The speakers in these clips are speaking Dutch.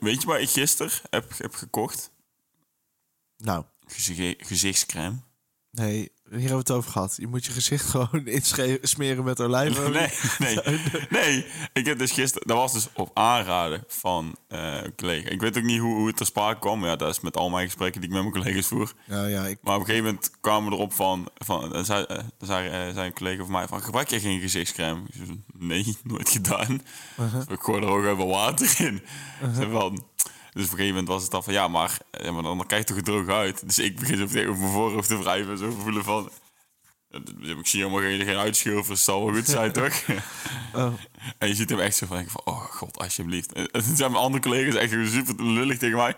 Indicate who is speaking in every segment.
Speaker 1: Weet je wat ik gisteren heb, heb gekocht?
Speaker 2: Nou,
Speaker 1: Gezige- gezichtscrème.
Speaker 2: nee, hier hebben we het over gehad. Je moet je gezicht gewoon insche- smeren met olijfolie.
Speaker 1: Nee, nee, nee. Ik heb dus gisteren... Dat was dus op aanraden van eh, een collega. Ik weet ook niet hoe, hoe het ter sprake kwam. Ja, dat is met al mijn gesprekken die ik met mijn collega's voer.
Speaker 2: Nou ja, ik,
Speaker 1: Maar op een gegeven moment kwamen we erop van... van en zei, eh, zei, eh, zei een collega van mij van... Gebruik jij geen gezichtscrème? Ik zei, nee, nooit gedaan. Dus ik gooi er ook even water in. Zei van, dus op een gegeven moment was het dan van... Ja, maar, eh, maar dan, dan krijg je toch droog uit. Dus ik begin zo meteen over mijn voorhoofd te wrijven. En zo voelen van... eh, Ik zie helemaal geen, geen uitschilfers. Het zal wel goed zijn, toch?
Speaker 2: oh,
Speaker 1: En je ziet hem echt zo van, denken van oh god, alsjeblieft. En toen zijn mijn andere collega's echt super lullig tegen mij.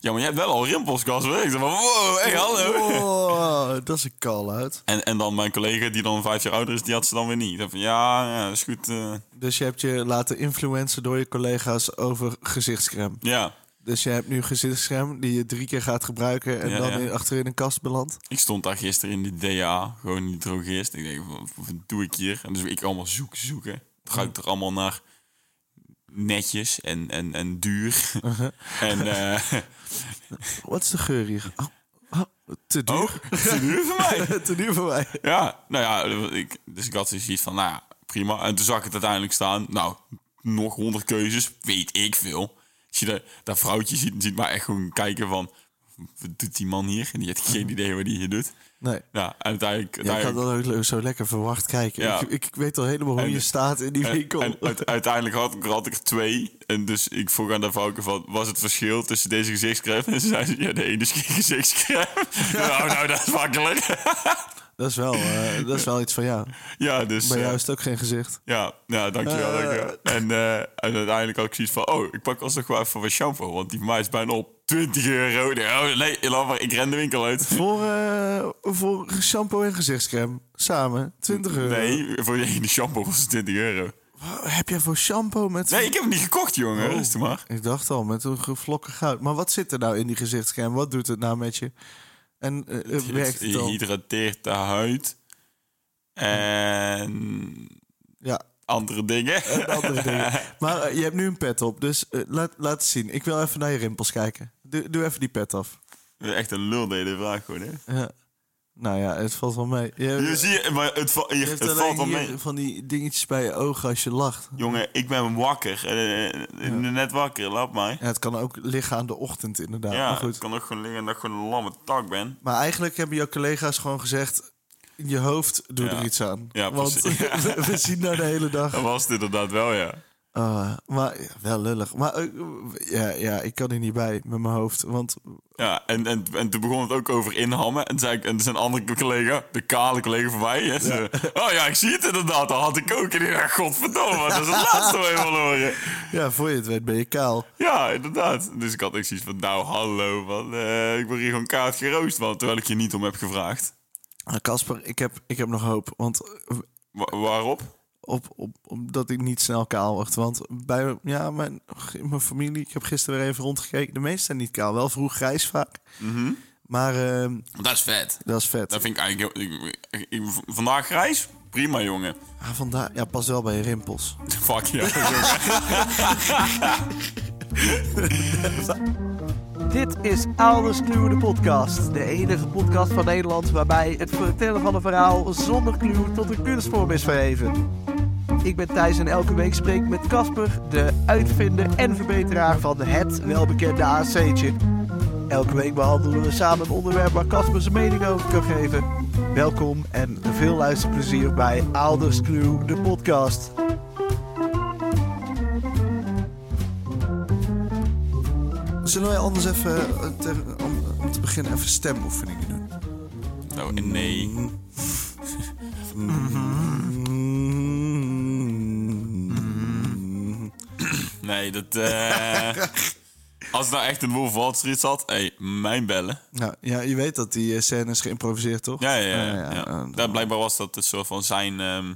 Speaker 1: Ja, maar jij hebt wel al rimpels, Cas. Ik zei van, wow, echt hallo.
Speaker 2: oh, dat is een call-out.
Speaker 1: En, en dan mijn collega die dan vijf jaar ouder is, die had ze dan weer niet. Ik dacht van, ja, ja, dat is goed. eh,
Speaker 2: Dus je hebt je laten influencen door je collega's over gezichtscreme.
Speaker 1: ja,
Speaker 2: Dus je hebt nu gezichtscreme die je drie keer gaat gebruiken en
Speaker 1: Ja,
Speaker 2: dan
Speaker 1: ja.
Speaker 2: in- achterin een kast belandt.
Speaker 1: ik stond daar gisteren in de DA, gewoon in de drogist. Ik denk, wat, wat doe ik hier? En dus ik allemaal zoek, zoeken. Het ruikt er allemaal naar netjes en, en, en duur. en, eh,
Speaker 2: Wat is de geur hier? Oh, oh, te duur.
Speaker 1: oh, het is duur voor mij.
Speaker 2: te duur voor mij.
Speaker 1: Ja, nou ja, ik, dus ik had zoiets van, nou ja, prima. En toen zag ik het uiteindelijk staan. Nou, nog honderd keuzes, weet ik veel. Als je dat, dat vrouwtje ziet, ziet maar echt gewoon kijken van... Wat doet die man hier? En die heeft geen idee wat hij hier doet.
Speaker 2: Mhm. Nee.
Speaker 1: Ja, en uiteindelijk...
Speaker 2: Ja, ik had
Speaker 1: uiteindelijk-
Speaker 2: dat ook le- zo lekker verwacht kijken.
Speaker 1: Ja.
Speaker 2: Ik, ik weet al helemaal hoe
Speaker 1: En-
Speaker 2: je staat in die winkel.
Speaker 1: en uite- uiteindelijk had, ik- had ik er twee. En dus ik vroeg aan de vrouwke van... Was het verschil tussen deze gezichtscrème? En ze zei ze, ja, de ene is geen gezichtscrème. nou, nou, dat is makkelijk.
Speaker 2: dat, is wel, eh, dat is wel iets van jou.
Speaker 1: ja, dus...
Speaker 2: Bij
Speaker 1: eh,
Speaker 2: jou is het ook geen gezicht.
Speaker 1: Ja, ja dankjewel. dankjewel. En, eh, en uiteindelijk had ik zoiets van... Oh, ik pak alsnog wel even wat shampoo. Want die van mij is bijna op 20 euro. Nee, oh, nee laat maar, ik ren de winkel uit.
Speaker 2: Voor, eh, voor shampoo en gezichtscreme. Samen. 20 euro.
Speaker 1: Nee, voor die ene shampoo was het 20 euro.
Speaker 2: Wat heb jij voor shampoo met...
Speaker 1: Nee, ik heb hem niet gekocht,
Speaker 2: Oh.
Speaker 1: jongen. Rustig maar.
Speaker 2: Ik dacht al, met een gevlokken goud. Maar wat zit er nou in die gezichtscreme? Wat doet het nou met je? En eh, eh, werkt het
Speaker 1: Het
Speaker 2: al?
Speaker 1: hydrateert de huid. En
Speaker 2: Ja,
Speaker 1: andere dingen.
Speaker 2: Eh, andere dingen. Maar eh, je hebt nu een pet op, dus eh, laat, laat eens zien. Ik wil even naar je rimpels kijken. Doe, doe even die pet af.
Speaker 1: Echt een lul deed de vraag gewoon, hè.
Speaker 2: Ja. Nou ja, het valt wel mee. Je,
Speaker 1: Je ziet, maar het, va- hier-
Speaker 2: je hebt
Speaker 1: het
Speaker 2: Eh, alleen
Speaker 1: valt wel
Speaker 2: hier
Speaker 1: mee.
Speaker 2: van die dingetjes bij je ogen als je lacht.
Speaker 1: Jongen, ik ben wakker. Eh, eh, Net wakker, laat mij.
Speaker 2: Ja, het kan ook liggen aan de ochtend inderdaad.
Speaker 1: Ja,
Speaker 2: maar
Speaker 1: het
Speaker 2: goed.
Speaker 1: kan ook gewoon liggen dat ik gewoon een lamme tak ben.
Speaker 2: Maar eigenlijk hebben jouw collega's gewoon gezegd... in je hoofd doe
Speaker 1: Ja.
Speaker 2: er iets aan.
Speaker 1: Ja,
Speaker 2: Want
Speaker 1: precies.
Speaker 2: we, we zien nou de hele dag...
Speaker 1: Dat was het inderdaad wel, ja.
Speaker 2: Ah, maar ja, wel lullig. Maar eh, ja, ja, ik kan er niet bij met mijn hoofd. Want
Speaker 1: Ja, en, en, en toen begon het ook over inhammen. En, zei ik, en zijn andere collega, de kale collega van mij... hè, ze, oh ja, ik zie het inderdaad, dat had ik ook. En ik dacht, godverdomme, dat is het laatste wat je wil horen.
Speaker 2: ja, voor je het weet ben je kaal.
Speaker 1: Ja, inderdaad. Dus ik had echt zoiets van, nou hallo, man. eh, ik word hier gewoon kaart geroost, man. Terwijl ik je niet om heb gevraagd.
Speaker 2: Maar Casper, ik heb, ik heb nog hoop. Want eh,
Speaker 1: Wa- waarop?
Speaker 2: op, op, omdat ik niet snel kaal word. Want bij ja, mijn, mijn familie, ik heb gisteren weer even rondgekeken. De meesten zijn niet kaal. Wel vroeg grijs vaak. Maar ehm,
Speaker 1: Dat is vet.
Speaker 2: dat is vet.
Speaker 1: Mhm. Dat vind ik eigenlijk... heel- Ik, ik- ik- vandaag grijs? Prima, jongen.
Speaker 2: Ah, vandaar, ja, pas wel bij je rimpels.
Speaker 1: Fuck ja.
Speaker 3: Dit is Alders Kluwe, de podcast. De enige podcast van Nederland waarbij het vertellen van een verhaal zonder kluw tot een kunstvorm is verheven. Ik ben Thijs en elke week spreek ik met Casper, de uitvinder en verbeteraar van het welbekende AC'tje. Elke week behandelen we samen een onderwerp waar Casper zijn mening over kan geven. Welkom en veel luisterplezier bij Alders Kluwe, de podcast.
Speaker 2: Zullen wij anders even, eh, ter- om, om te beginnen, even stemoefeningen doen?
Speaker 1: Nou, nee.
Speaker 2: Mm-hmm.
Speaker 1: Nee, dat... eh, als het nou echt een Wolf of Wall Street zat... hey, mijn bellen.
Speaker 2: Nou, ja, je weet dat die eh, scène is geïmproviseerd, toch?
Speaker 1: Ja, ja, ja.
Speaker 2: Ah,
Speaker 1: ja.
Speaker 2: eh,
Speaker 1: Ja, blijkbaar was dat een soort van zijn... ehm,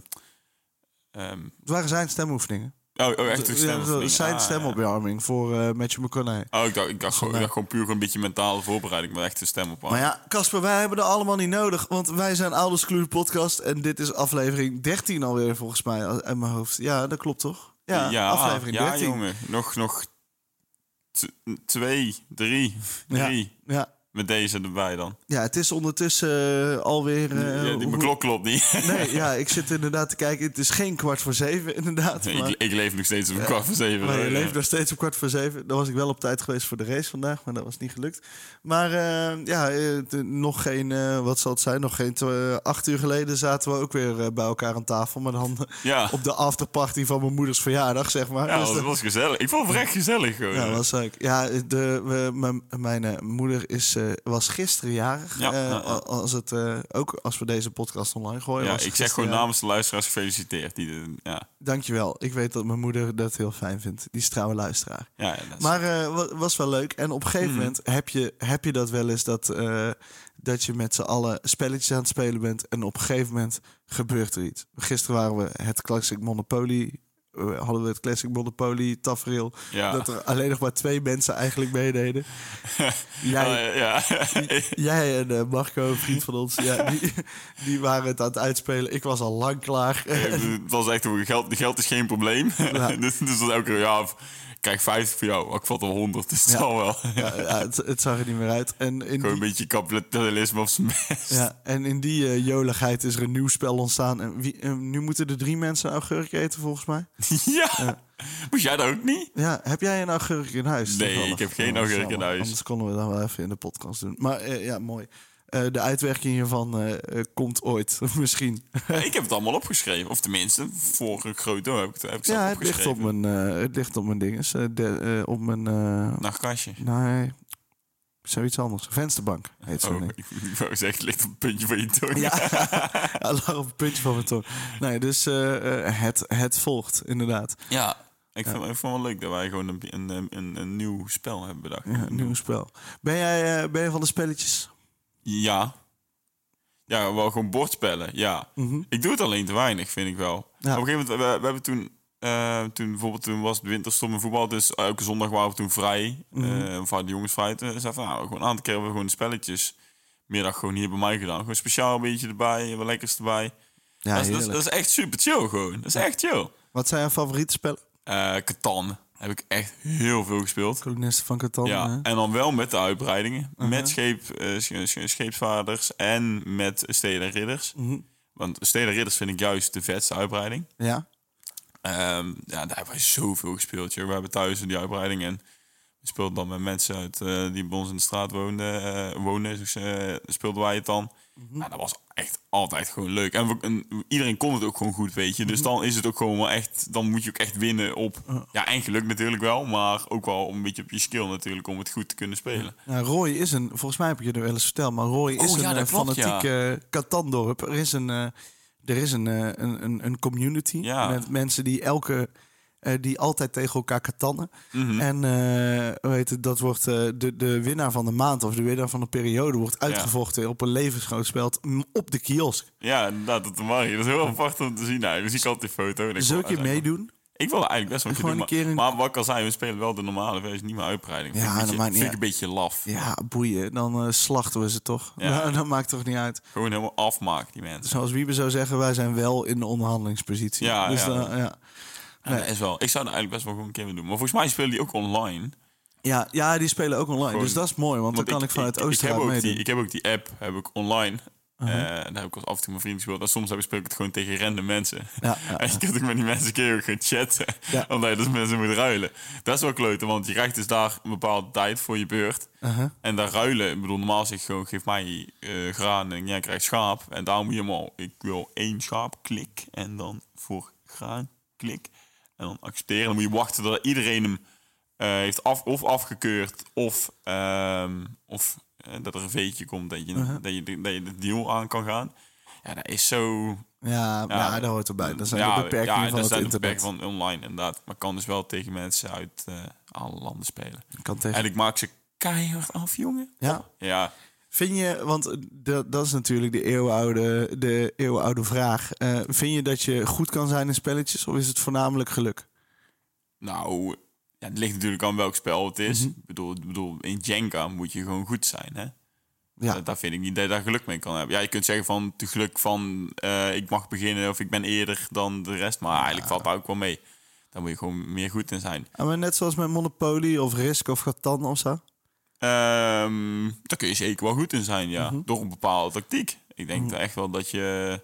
Speaker 1: ehm,
Speaker 2: Het waren zijn stemoefeningen.
Speaker 1: oh, oh, echt een stem. Ah,
Speaker 2: Ja, zijn stemopwarming voor eh Matthew McConaughey.
Speaker 1: Oh, ik dacht, ik, dacht gewoon, ik dacht gewoon puur gewoon een beetje mentale voorbereiding, maar echt een stem op.
Speaker 2: Maar ja, Casper, wij hebben er allemaal niet nodig. Want wij zijn Ouders Clue Podcast. En dit is aflevering 13 alweer, volgens mij, uit mijn hoofd. Ja, dat klopt toch? Ja, aflevering
Speaker 1: ja,
Speaker 2: 13.
Speaker 1: jongen. Nog, nog t- twee, drie,
Speaker 2: Ja.
Speaker 1: drie.
Speaker 2: Ja.
Speaker 1: Met deze erbij dan.
Speaker 2: ja, het is ondertussen eh, alweer... eh,
Speaker 1: ja, die,
Speaker 2: hoe-
Speaker 1: mijn klok klopt niet.
Speaker 2: Nee, ja, ik zit inderdaad te kijken. Het is geen kwart voor zeven, inderdaad.
Speaker 1: Nee,
Speaker 2: maar...
Speaker 1: ik, ik leef nog steeds op een kwart voor zeven.
Speaker 2: Maar je
Speaker 1: hoor.
Speaker 2: leeft nog steeds op kwart voor zeven. Dan was ik wel op tijd geweest voor de race vandaag, maar dat was niet gelukt. Maar eh, ja, eh, t- nog geen, eh, wat zal het zijn, nog geen tw- eh, acht uur geleden zaten we ook weer eh, bij elkaar aan tafel. Maar dan
Speaker 1: Ja,
Speaker 2: op de afterparty van mijn moeders verjaardag, zeg maar.
Speaker 1: ja
Speaker 2: Dus
Speaker 1: dat
Speaker 2: dat-
Speaker 1: was gezellig. Ik vond het echt gezellig gewoon.
Speaker 2: ja, was leuk. Ja, de, we, mijn, mijn eh, moeder is, eh, was gisteren jarig.
Speaker 1: Ja, ja,
Speaker 2: Eh,
Speaker 1: ja.
Speaker 2: a- Als het, eh, ook als we deze podcast online gooien.
Speaker 1: Ja,
Speaker 2: was ze
Speaker 1: ik zeg gewoon
Speaker 2: gisteren jarig.
Speaker 1: namens de luisteraars gefeliciteerd. Die, de- ja,
Speaker 2: Dankjewel. Ik weet dat mijn moeder dat heel fijn vindt. Die is trouwe luisteraar.
Speaker 1: ja, ja, dat is-
Speaker 2: Maar eh, wa- was wel leuk. En op een
Speaker 1: Hmm.
Speaker 2: gegeven moment heb je, heb je dat wel eens dat, eh, dat je met z'n allen spelletjes aan het spelen bent. En op een gegeven moment gebeurt er iets. Gisteren waren we het Classic Monopoly. eh, hadden we het Classic Monopoly tafereel.
Speaker 1: ja.
Speaker 2: Dat er alleen nog maar twee mensen eigenlijk meededen.
Speaker 1: Oh,
Speaker 2: jij,
Speaker 1: ja, ja.
Speaker 2: jij en eh, Marco, een vriend van ons, ja, die, die waren het aan het uitspelen. Ik was al lang klaar.
Speaker 1: het was echt, hoe geld, geld is geen probleem. dus, dus dat elke keer, ja, ik krijg 50 voor jou. Ik vat al 100, dus het
Speaker 2: Ja.
Speaker 1: zal wel.
Speaker 2: Ja, ja, het, het zag er niet meer uit. En in
Speaker 1: Gewoon een
Speaker 2: die,
Speaker 1: beetje kapitalisme op zijn best.
Speaker 2: ja, en in die eh, joligheid is er een nieuw spel ontstaan. En wie, eh, nu moeten er drie mensen een augurk eten, volgens mij.
Speaker 1: Ja. Moest jij dat ook niet?
Speaker 2: Ja, heb jij een augurk in huis?
Speaker 1: Nee,
Speaker 2: toevallig?
Speaker 1: ik heb geen
Speaker 2: Oh,
Speaker 1: augurk in
Speaker 2: jammer.
Speaker 1: huis.
Speaker 2: Anders konden we dat wel even in de podcast doen. Maar eh, ja, mooi. Eh, de uitwerking hiervan eh, eh, komt ooit, misschien.
Speaker 1: Ik heb het allemaal opgeschreven. Of tenminste, voor een groot deel heb ik het, heb ik het
Speaker 2: Ja,
Speaker 1: zelf
Speaker 2: het ligt, op
Speaker 1: opgeschreven.
Speaker 2: mijn, eh, het ligt op mijn dinges. eh, de, eh, op mijn... eh,
Speaker 1: Nachtkastje.
Speaker 2: nee, zoiets anders. Vensterbank heet zo'n
Speaker 1: Oh,
Speaker 2: ding.
Speaker 1: ik, ik wou zeggen, het ligt op het puntje van je tong.
Speaker 2: Ja, hij lag op het puntje van mijn tong. Nee, dus eh, eh, het, het volgt, inderdaad.
Speaker 1: Ja, ik vind, ik vond het wel leuk dat wij gewoon een, een, een, een nieuw spel hebben bedacht.
Speaker 2: Ja, nieuw spel. Ben jij eh, ben je van de spelletjes?
Speaker 1: Ja. Ja, wel gewoon bordspellen, ja.
Speaker 2: Mhm.
Speaker 1: Ik doe het alleen te weinig, vind ik wel. Op een gegeven moment, we, we hebben toen... eh, toen, bijvoorbeeld, toen was het winterstom in voetbal, dus elke zondag waren we toen vrij.
Speaker 2: Mhm.
Speaker 1: eh voor de jongens vrij. Toen zei ik van, nou, gewoon een aantal keer hebben we gewoon spelletjes middag gewoon hier bij mij gedaan. Gewoon speciaal een beetje erbij, wat lekkers erbij.
Speaker 2: Ja,
Speaker 1: dat, is, dat, is,
Speaker 2: heerlijk.
Speaker 1: dat is echt super chill gewoon. Dat is echt chill.
Speaker 2: Wat zijn jouw favoriete spellen?
Speaker 1: Eh Catan heb ik echt heel veel gespeeld.
Speaker 2: Kolonisten van eh? Catan.
Speaker 1: Ja,
Speaker 2: hè?
Speaker 1: en dan wel met de uitbreidingen. Met scheep, eh, sch- sch- scheepsvaarders en met steden en ridders. Want steden en ridders vind ik juist de vetste uitbreiding.
Speaker 2: ja.
Speaker 1: Ehm, ja, daar hebben wij zoveel gespeeld. joh. We hebben thuis die uitbreiding en we speelden dan met mensen uit, eh, die bij ons in de straat woonden. eh wonen dus, eh, speelden wij het dan. Nou, dat was echt altijd gewoon leuk. En, we- en iedereen kon het ook gewoon goed, weet je. Dus dan is het ook gewoon wel echt... Dan moet je ook echt winnen op... Ja, en geluk natuurlijk wel. Maar ook wel een beetje op je skill natuurlijk... om het goed te kunnen spelen.
Speaker 2: Nou, Roy is een, volgens mij heb ik je er wel eens verteld, maar Roy is
Speaker 1: Oh, ja,
Speaker 2: een
Speaker 1: dat
Speaker 2: eh,
Speaker 1: klopt, ja.
Speaker 2: fanatiek eh, Catandorp. Er is een, eh, er is een, eh, een, een, een community
Speaker 1: Ja.
Speaker 2: met mensen die elke eh, die altijd tegen elkaar katannen.
Speaker 1: Mhm.
Speaker 2: En eh, hoe heet het, dat wordt eh, de, de winnaar van de maand of de winnaar van de periode wordt uitgevochten op een levensgroot spel m, op de kiosk.
Speaker 1: Ja, inderdaad, dat mag je. Dat is heel apart om te zien. eigenlijk. Dus ik had die foto. en ik
Speaker 2: Zul ik je
Speaker 1: wil-
Speaker 2: meedoen?
Speaker 1: Ik wil er eigenlijk best wel een keer
Speaker 2: Gewoon
Speaker 1: doen,
Speaker 2: een keer een-
Speaker 1: Maar maar wat ik al zei, we spelen wel de normale versie, niet meer uitbreiding.
Speaker 2: Ja,
Speaker 1: vind ik een
Speaker 2: dat
Speaker 1: beetje,
Speaker 2: maakt niet
Speaker 1: vind ik een beetje laf.
Speaker 2: Ja, boeien. Dan eh, slachten we ze toch.
Speaker 1: Ja.
Speaker 2: Nou, dat maakt toch niet uit.
Speaker 1: Gewoon helemaal afmaak, die mensen.
Speaker 2: Zoals Wiebe zou zeggen, wij zijn wel in de onderhandelingspositie.
Speaker 1: Ja,
Speaker 2: dus
Speaker 1: ja.
Speaker 2: dan, ja.
Speaker 1: Ja, dat is wel. Ik zou er eigenlijk best wel gewoon een keer mee doen. Maar volgens mij spelen die ook online.
Speaker 2: Ja, ja, die spelen ook online.
Speaker 1: Gewoon-
Speaker 2: dus dat is mooi, want, dan kan ik, vanuit Oostenrijk
Speaker 1: heb ook
Speaker 2: meedoen. Uh-huh.
Speaker 1: Die, ik heb ook die app, heb ik online. Eh, daar heb ik als af en toe mijn vrienden gespeeld. En soms heb ik, speel ik het gewoon tegen random mensen.
Speaker 2: Ja, ja,
Speaker 1: en je kunt ook met die mensen een keer ook gaan chatten.
Speaker 2: Ja.
Speaker 1: Omdat je dus mensen moet ruilen. Dat is wel kloten, want je krijgt dus daar een bepaalde tijd voor je beurt. En daar ruilen, ik bedoel, normaal zeg je gewoon, geef mij eh, graan en jij krijgt schaap. En daar moet je helemaal, ik wil één schaap, klik. En dan voor graan, klik. En dan accepteren. Dan moet je wachten tot iedereen hem eh, heeft af, of afgekeurd of, ehm, of eh, dat er een veetje komt dat je, dat, je, dat je de deal aan kan gaan. Ja, dat is zo...
Speaker 2: Ja, maar
Speaker 1: ja,
Speaker 2: ja, daar hoort erbij. Dat zijn
Speaker 1: ja,
Speaker 2: de beperkingen
Speaker 1: ja,
Speaker 2: van
Speaker 1: dat
Speaker 2: het
Speaker 1: zijn de
Speaker 2: internet.
Speaker 1: beperkingen van online inderdaad. Maar ik kan dus wel tegen mensen uit eh, alle landen spelen.
Speaker 2: Kan tegen-
Speaker 1: En ik maak ze keihard af, jongen.
Speaker 2: Ja.
Speaker 1: Ja,
Speaker 2: Vind je, want dat, dat is natuurlijk de eeuwenoude, de eeuwenoude vraag. Eh, vind je dat je goed kan zijn in spelletjes of is het voornamelijk geluk?
Speaker 1: nou... Ja, het ligt natuurlijk aan welk spel het
Speaker 2: Mhm.
Speaker 1: is. Ik bedoel, ik bedoel, in Jenga moet je gewoon goed zijn, hè?
Speaker 2: Ja,
Speaker 1: Dat, dat vind ik niet dat je daar geluk mee kan hebben. Ja, je kunt zeggen van te geluk van eh, ik mag beginnen of ik ben eerder dan de rest, maar eigenlijk valt dat ook wel mee. Daar moet je gewoon meer goed in zijn.
Speaker 2: Ah, maar net zoals met Monopoly of Risk of Catan of zo.
Speaker 1: Ehm, daar kun je zeker wel goed in zijn, ja. Door een bepaalde tactiek. Ik denk echt wel dat je...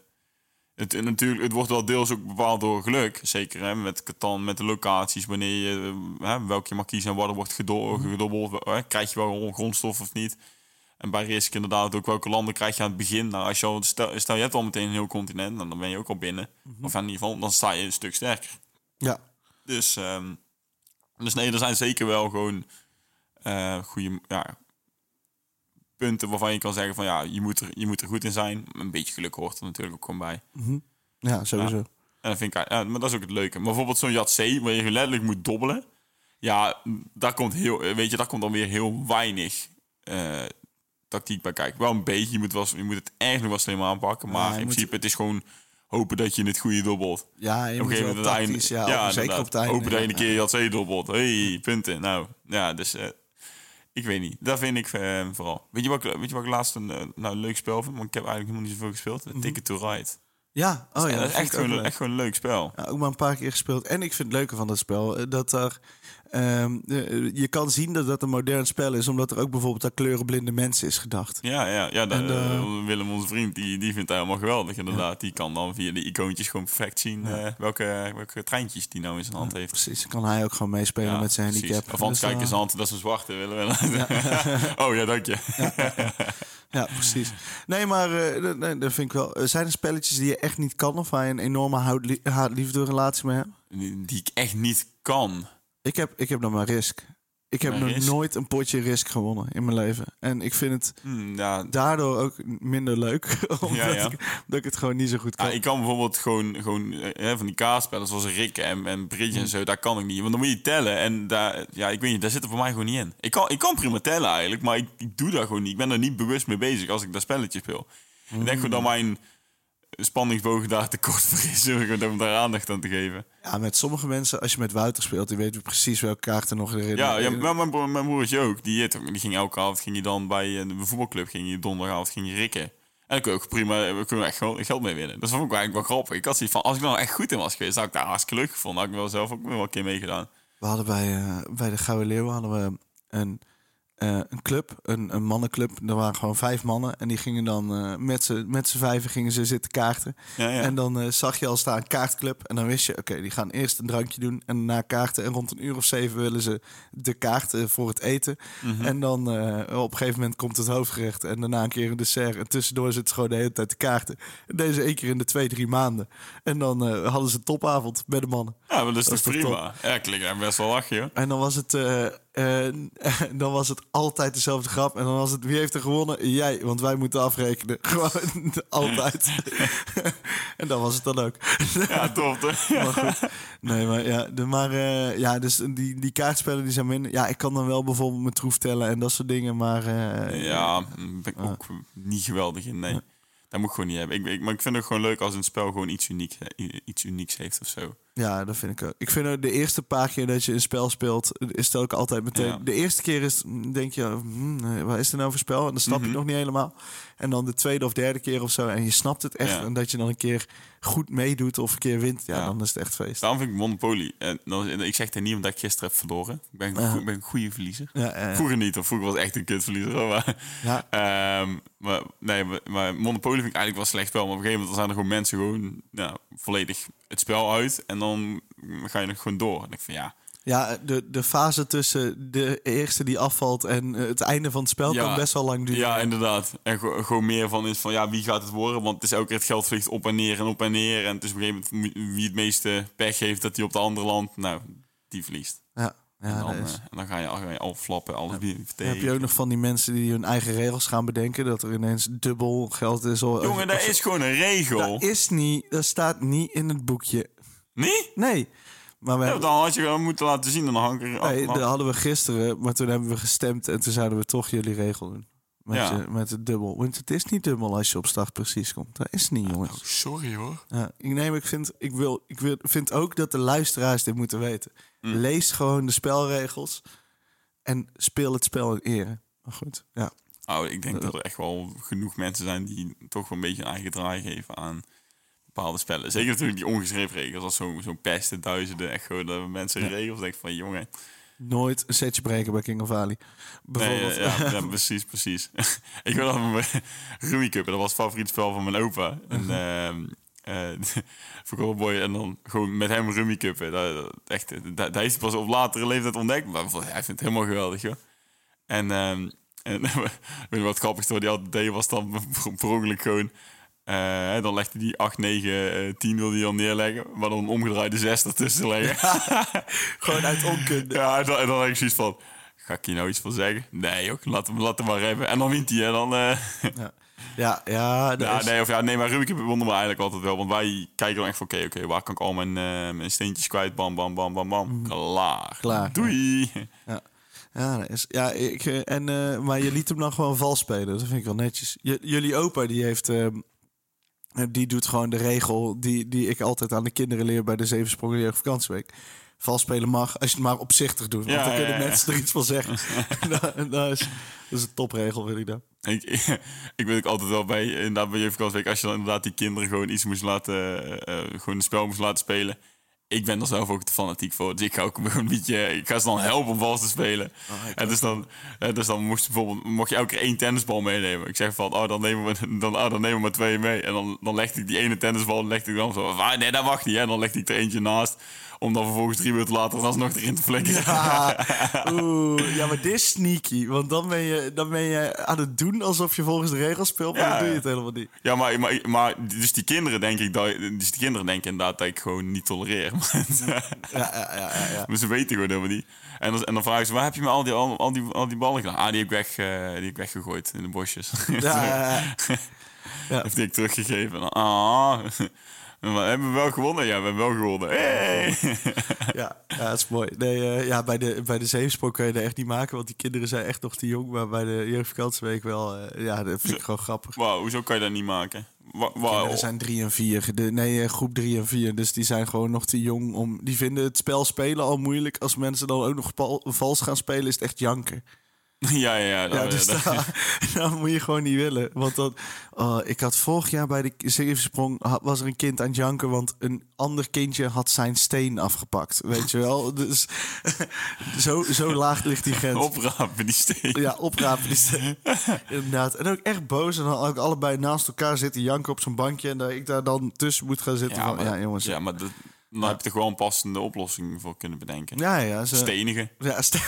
Speaker 1: Het, en natuurlijk, het wordt wel deels ook bepaald door geluk. Zeker hè, met Catan, met de locaties, wanneer je, eh, hè, welke je mag kiezen en waar er wordt gedo- gedobbeld. hè, krijg je wel gewoon grondstof of niet. En bij Risk inderdaad ook welke landen krijg je aan het begin. Nou, als je al, stel, stel, je hebt al meteen een heel continent, nou, dan ben je ook al binnen. Of in ieder geval, dan sta je een stuk sterker.
Speaker 2: Ja.
Speaker 1: Dus, ehm, dus nee, er zijn zeker wel gewoon eh goede ja, punten waarvan je kan zeggen van ja, je moet, er, je moet er goed in zijn. Een beetje geluk hoort er natuurlijk ook gewoon bij.
Speaker 2: Ja, sowieso.
Speaker 1: Ja. En dat vind ik, ja, maar dat is ook het leuke. Maar bijvoorbeeld zo'n Jat C, waar je letterlijk moet dobbelen. Ja, daar komt, heel, weet je, daar komt dan weer heel weinig eh, tactiek bij kijken. Wel een beetje, je moet, wel, je moet het echt nog wel slim aanpakken. Maar
Speaker 2: je
Speaker 1: in
Speaker 2: moet-
Speaker 1: principe, het is gewoon hopen dat je het goede dobbelt.
Speaker 2: Ja, je
Speaker 1: Op een
Speaker 2: moet
Speaker 1: gegeven
Speaker 2: wel
Speaker 1: moment aan het
Speaker 2: tactisch,
Speaker 1: einde.
Speaker 2: ja, op- zeker
Speaker 1: inderdaad.
Speaker 2: op het einde.
Speaker 1: Hopen dat je
Speaker 2: ja.
Speaker 1: een keer had zeedobbelt. hey, punten. Nou, ja, dus... eh, ik weet niet. Dat vind ik eh, vooral. Weet je wat, ik- weet je wat ik laatst een eh, nou, leuk spel vind? Want ik heb eigenlijk helemaal niet zoveel gespeeld. Ticket to Ride.
Speaker 2: Mhm. Ja, oh ja.
Speaker 1: ja, dat is
Speaker 2: vind
Speaker 1: echt
Speaker 2: ik ook
Speaker 1: gewoon,
Speaker 2: leuk.
Speaker 1: echt gewoon een leuk spel.
Speaker 2: Ja, ook maar een paar keer gespeeld. En ik vind het leuke van dat spel eh, dat er. ehm, eh, je kan zien dat dat een modern spel is, omdat er ook bijvoorbeeld aan kleurenblinde mensen is gedacht.
Speaker 1: Ja, ja, ja. dat,
Speaker 2: En, eh,
Speaker 1: eh, Willem, onze vriend, die, die vindt dat helemaal geweldig. Inderdaad, die kan dan via de icoontjes gewoon perfect zien eh, welke, welke treintjes die nou in zijn hand heeft.
Speaker 2: Precies, dan kan hij ook gewoon meespelen
Speaker 1: Ja,
Speaker 2: met zijn
Speaker 1: precies.
Speaker 2: handicap.
Speaker 1: Of anders
Speaker 2: Dus, eh,
Speaker 1: kijk eens hand, dat is een zwarte. Willen we. oh ja, dank je.
Speaker 2: Ja, precies. Nee, maar eh, dat- nee, dat vind ik wel. Eh, Zijn er spelletjes die je echt niet kan of waar je een enorme houtlie- haat-liefde relatie mee hebt?
Speaker 1: Die die ik echt niet kan.
Speaker 2: Ik heb, ik heb nog maar Risk. Ik heb
Speaker 1: Maar
Speaker 2: nog
Speaker 1: Risk?
Speaker 2: nooit een potje Risk gewonnen in mijn leven. En ik vind het
Speaker 1: Hm, ja,
Speaker 2: daardoor ook minder leuk, omdat
Speaker 1: Ja, ja.
Speaker 2: Ik, dat ik het gewoon niet zo goed kan.
Speaker 1: Ja, ik kan bijvoorbeeld gewoon, gewoon eh, hè, van die kaartspellen zoals Rick en, en Bridge en zo, daar kan ik niet. Want dan moet je tellen en daar, ja, ik weet niet, daar zit er voor mij gewoon niet in. Ik kan, ik kan prima tellen eigenlijk, maar ik, ik doe daar gewoon niet. Ik ben er niet bewust mee bezig als ik dat spelletje speel. Ik denk gewoon dat mijn spanningsbogen daar tekort voor is om gewoon daar aandacht aan te geven.
Speaker 2: Ja, met sommige mensen, als je met Wouter speelt, die weten precies welke kaarten nog erin
Speaker 1: Ja, ja maar mijn, broer- mijn broertje ook. Die, heet ook- die ging elke avond ging je dan bij een voetbalclub, ging je donderdagavond ging je rikken. En dan kun je ook prima, we kunnen echt gewoon geld mee winnen. Dat vond ik eigenlijk wel grappig. Ik had zoiets van, als ik nou echt goed in was geweest, had ik daar hartstikke leuk gevonden. Had ik wel zelf ook wel een keer meegedaan.
Speaker 2: We hadden bij, eh, bij de Gouden Leeuwen hadden we een, eh, een club, een, een mannenclub. Er waren gewoon vijf mannen en die gingen dan eh, met z'n met z'n vijven gingen ze zitten kaarten.
Speaker 1: Ja, ja.
Speaker 2: En dan eh, zag je al staan kaartclub en dan wist je, oké, die gaan eerst een drankje doen en daarna kaarten. En rond een uur of zeven willen ze de kaarten voor het eten.
Speaker 1: Mhm.
Speaker 2: En dan eh, op een gegeven moment komt het hoofdgerecht en daarna een keer een dessert. En tussendoor zitten ze gewoon de hele tijd de kaarten. En deze één keer in de twee, drie maanden. En dan eh, hadden ze een topavond met de mannen.
Speaker 1: Ja, maar dat is
Speaker 2: Dat
Speaker 1: toch
Speaker 2: is toch
Speaker 1: prima. Ja, klinkt eigenlijk best wel lachen, joh.
Speaker 2: En dan was het, eh, eh, dan was het altijd dezelfde grap. En dan was het, wie heeft er gewonnen? Jij, want wij moeten afrekenen. Gewoon altijd. en dan was het dan ook.
Speaker 1: Ja, tof. hè?
Speaker 2: maar goed. Nee, maar ja, de, maar, eh, ja dus die, die kaartspellen die zijn minder. Ja, ik kan dan wel bijvoorbeeld mijn troef tellen en dat soort dingen. Maar eh,
Speaker 1: Ja, mm, ben ik ook niet geweldig in, nee. Dat moet ik gewoon niet hebben. Ik, ik- maar ik vind het gewoon leuk als een spel gewoon iets unieks, iets unieks heeft of zo.
Speaker 2: Ja, dat vind ik ook. Ik vind ook de eerste paar keer dat je een spel speelt, is het ook altijd meteen.
Speaker 1: Ja.
Speaker 2: De eerste keer is, denk je, hmm, eh, wat is er nou voor spel? En dan snap je het nog niet helemaal. En dan de tweede of derde keer of zo. En je snapt het echt.
Speaker 1: Ja.
Speaker 2: En dat je dan een keer goed meedoet of een keer wint. Ja,
Speaker 1: Ja.
Speaker 2: dan is het echt feest.
Speaker 1: Daarom vind ik Monopoly. En dan, ik zeg het niet omdat ik gisteren heb verloren. Ik ben, ik ben een goede verliezer.
Speaker 2: Ja, ja, ja.
Speaker 1: Vroeger niet, of vroeger was ik echt een kutverliezer. hoor, Maar,
Speaker 2: Ja.
Speaker 1: Ehm, maar, nee, maar, maar Monopoly vind ik eigenlijk wel slecht spel. Maar op een gegeven moment zijn er gewoon mensen gewoon ja, volledig het spel uit. En dan ga je nog gewoon door. En ik vind ja,
Speaker 2: Ja, de, de fase tussen de eerste die afvalt en eh, het einde van het spel
Speaker 1: Ja.
Speaker 2: kan best wel lang duren.
Speaker 1: ja inderdaad. En go- gewoon meer van is van ja, wie gaat het worden? Want het is elke keer het geld vliegt op en neer en op en neer. En het is op een gegeven moment wie- wie het meeste pech heeft dat die op de andere land, nou, die verliest.
Speaker 2: ja. ja,
Speaker 1: en, dan,
Speaker 2: dat is-
Speaker 1: eh, en dan ga je, ga je al flappen, alles weer
Speaker 2: Dan heb je ook nog van die mensen die hun eigen regels gaan bedenken. Dat er ineens dubbel geld is. of-
Speaker 1: Jongen,
Speaker 2: of
Speaker 1: dat
Speaker 2: zo.
Speaker 1: is gewoon een regel.
Speaker 2: Dat is niet, dat staat niet in het boekje.
Speaker 1: Nee?
Speaker 2: Nee, maar we
Speaker 1: Ja,
Speaker 2: hebben,
Speaker 1: dan had je gewoon moeten laten zien. Dan hang ik er
Speaker 2: nee,
Speaker 1: af-
Speaker 2: dat hadden we gisteren, maar toen hebben we gestemd en toen zouden we toch jullie regel doen. Met,
Speaker 1: Ja.
Speaker 2: je- met het dubbel. Want het is niet dubbel als je op start precies komt. Dat is niet, jongens.
Speaker 1: Sorry hoor.
Speaker 2: Ja, ik neem, ik vind, ik wil, ik wil, vind ook dat de luisteraars dit moeten weten.
Speaker 1: Mm.
Speaker 2: Lees gewoon de spelregels en speel het spel in ere. Maar goed, ja.
Speaker 1: Nou, ik denk dat er echt wel genoeg mensen zijn die toch wel een beetje een eigen draai geven aan bepaalde spellen. Zeker natuurlijk die ongeschreven regels, als zo'n zo'n pest en duizenden echt gewoon dat mensen regels denken van jongen.
Speaker 2: Nooit een setje breken bij King of Ali.
Speaker 1: Nee,
Speaker 2: Bijvoorbeeld.
Speaker 1: eh, ja, ja, precies, precies. ik wil dan mijn Rummy Cup, dat was het favoriet spel van mijn opa. En ehm eh, vond ik wel mooi. En dan gewoon met hem Rummy Cup. Dat, dat- echt, eh, dat, dat is pas op latere leeftijd ontdekt, maar hij vindt het helemaal geweldig, joh. En, ehm en weet je wat het grappigste wat hij altijd deed, was dan per ongeluk gewoon... eh, dan legde hij 8, 9, eh, 10 wilde hij dan neerleggen. Maar dan een omgedraaide 6 ertussen leggen.
Speaker 2: Gewoon uit onkunde.
Speaker 1: Ja, en dan, en dan heb ik zoiets van... Ga ik hier nou iets van zeggen? Nee, joh. Laat hem, laat hem maar hebben. En dan wint hij. En dan... eh,
Speaker 2: Ja, ja, ja, dat
Speaker 1: ja,
Speaker 2: is-
Speaker 1: nee, of, ja, nee, maar Rubik wonder me eigenlijk altijd wel. Want wij kijken dan echt van... Oké, oké. waar kan ik al mijn, eh, mijn steentjes kwijt? Bam, bam, bam, bam, bam. Klaar.
Speaker 2: Mm. Klaar, ja.
Speaker 1: Doei.
Speaker 2: Ja, ja, dat is, ja ik, eh, en, eh, maar je liet hem dan gewoon vals spelen. Dat vind ik wel netjes. J- jullie opa, die heeft... ehm, eh, die doet gewoon de regel die, die ik altijd aan de kinderen leer bij de Zeven Sprongen Jeugdvakantieweek. Vals spelen mag als je het maar opzichtig doet. Want
Speaker 1: Ja,
Speaker 2: dan
Speaker 1: ja,
Speaker 2: kunnen
Speaker 1: ja.
Speaker 2: mensen er iets van zeggen. dat, dat, is, dat is een topregel, vind ik dan.
Speaker 1: Ik, ik weet ook altijd wel bij, inderdaad bij Jeugdkastweek, als je dan inderdaad die kinderen gewoon iets moest laten, eh, eh, gewoon een spel moest laten spelen. Ik ben er zelf ook te fanatiek voor, dus ik ga ook gewoon een beetje, ik ga ze dan helpen om vals te spelen. en dus dan, eh, dus dan moest je bijvoorbeeld, mocht je elke keer één tennisbal meenemen. Ik zeg van, oh dan nemen we, dan, oh, dan nemen we maar twee mee. En dan, dan legde ik die ene tennisbal, legde ik dan zo, ah, nee dat mag niet. hè. En dan legde ik er eentje naast, om dan vervolgens drie minuten later alsnog erin te flikkeren.
Speaker 2: Ah, Oeh, ja, maar dit is sneaky. Want dan ben, je, dan ben je aan het doen alsof je volgens de regels speelt. Maar
Speaker 1: Ja,
Speaker 2: dan doe je
Speaker 1: ja.
Speaker 2: het helemaal niet.
Speaker 1: Ja, maar, maar, maar dus die kinderen denk ik dat, dus die kinderen denken inderdaad dat ik gewoon niet tolereer. Maar,
Speaker 2: Ja, ja, ja, ja, ja.
Speaker 1: maar ze weten gewoon helemaal niet. En dan, en dan vragen ze, waar heb je me al die, al, al die, al die ballen gedaan? Ah, die heb ik, weg, eh, die heb ik weggegooid in de bosjes.
Speaker 2: Ja, ja, ja.
Speaker 1: Heeft die ik teruggegeven. En dan, ah, En we hebben wel gewonnen. Ja, we hebben wel gewonnen. Hey!
Speaker 2: Ja, ja, dat is mooi. Nee, eh, ja, bij de, bij de zeefsprong kun je dat echt niet maken, want die kinderen zijn echt nog te jong. Maar bij de jeugdvakantieweek wel, eh, ja, dat vind ik gewoon grappig.
Speaker 1: Wauw, hoezo kan je dat niet maken? Wa- Wauw.
Speaker 2: Kinderen zijn drie en vier. De, nee, eh, groep drie en vier. Dus die zijn gewoon nog te jong om... Die vinden het spel spelen al moeilijk. Als mensen dan ook nog pal- vals gaan spelen, is het echt janken.
Speaker 1: Ja, ja, Oh, ja.
Speaker 2: Ja,
Speaker 1: dat-
Speaker 2: dus
Speaker 1: dat-
Speaker 2: dat, dat moet je gewoon niet willen. Want dan, oh, ik had vorig jaar bij de zeefsprong ha- was er een kind aan het janken, want een ander kindje had zijn steen afgepakt. Weet je wel? Dus zo, zo laag ligt die grens.
Speaker 1: Oprapen die steek.
Speaker 2: Ja, oprapen die steen. Inderdaad. En ook echt boos. En dan ook allebei naast elkaar zitten janken op zo'n bankje. En dat ik daar dan tussen moet gaan zitten. Ja, van, ja jongens.
Speaker 1: Ja,
Speaker 2: Ja,
Speaker 1: maar dat, dan heb je toch wel een passende oplossing voor kunnen bedenken.
Speaker 2: ja. ze,
Speaker 1: Stenigen.
Speaker 2: Ja, ste-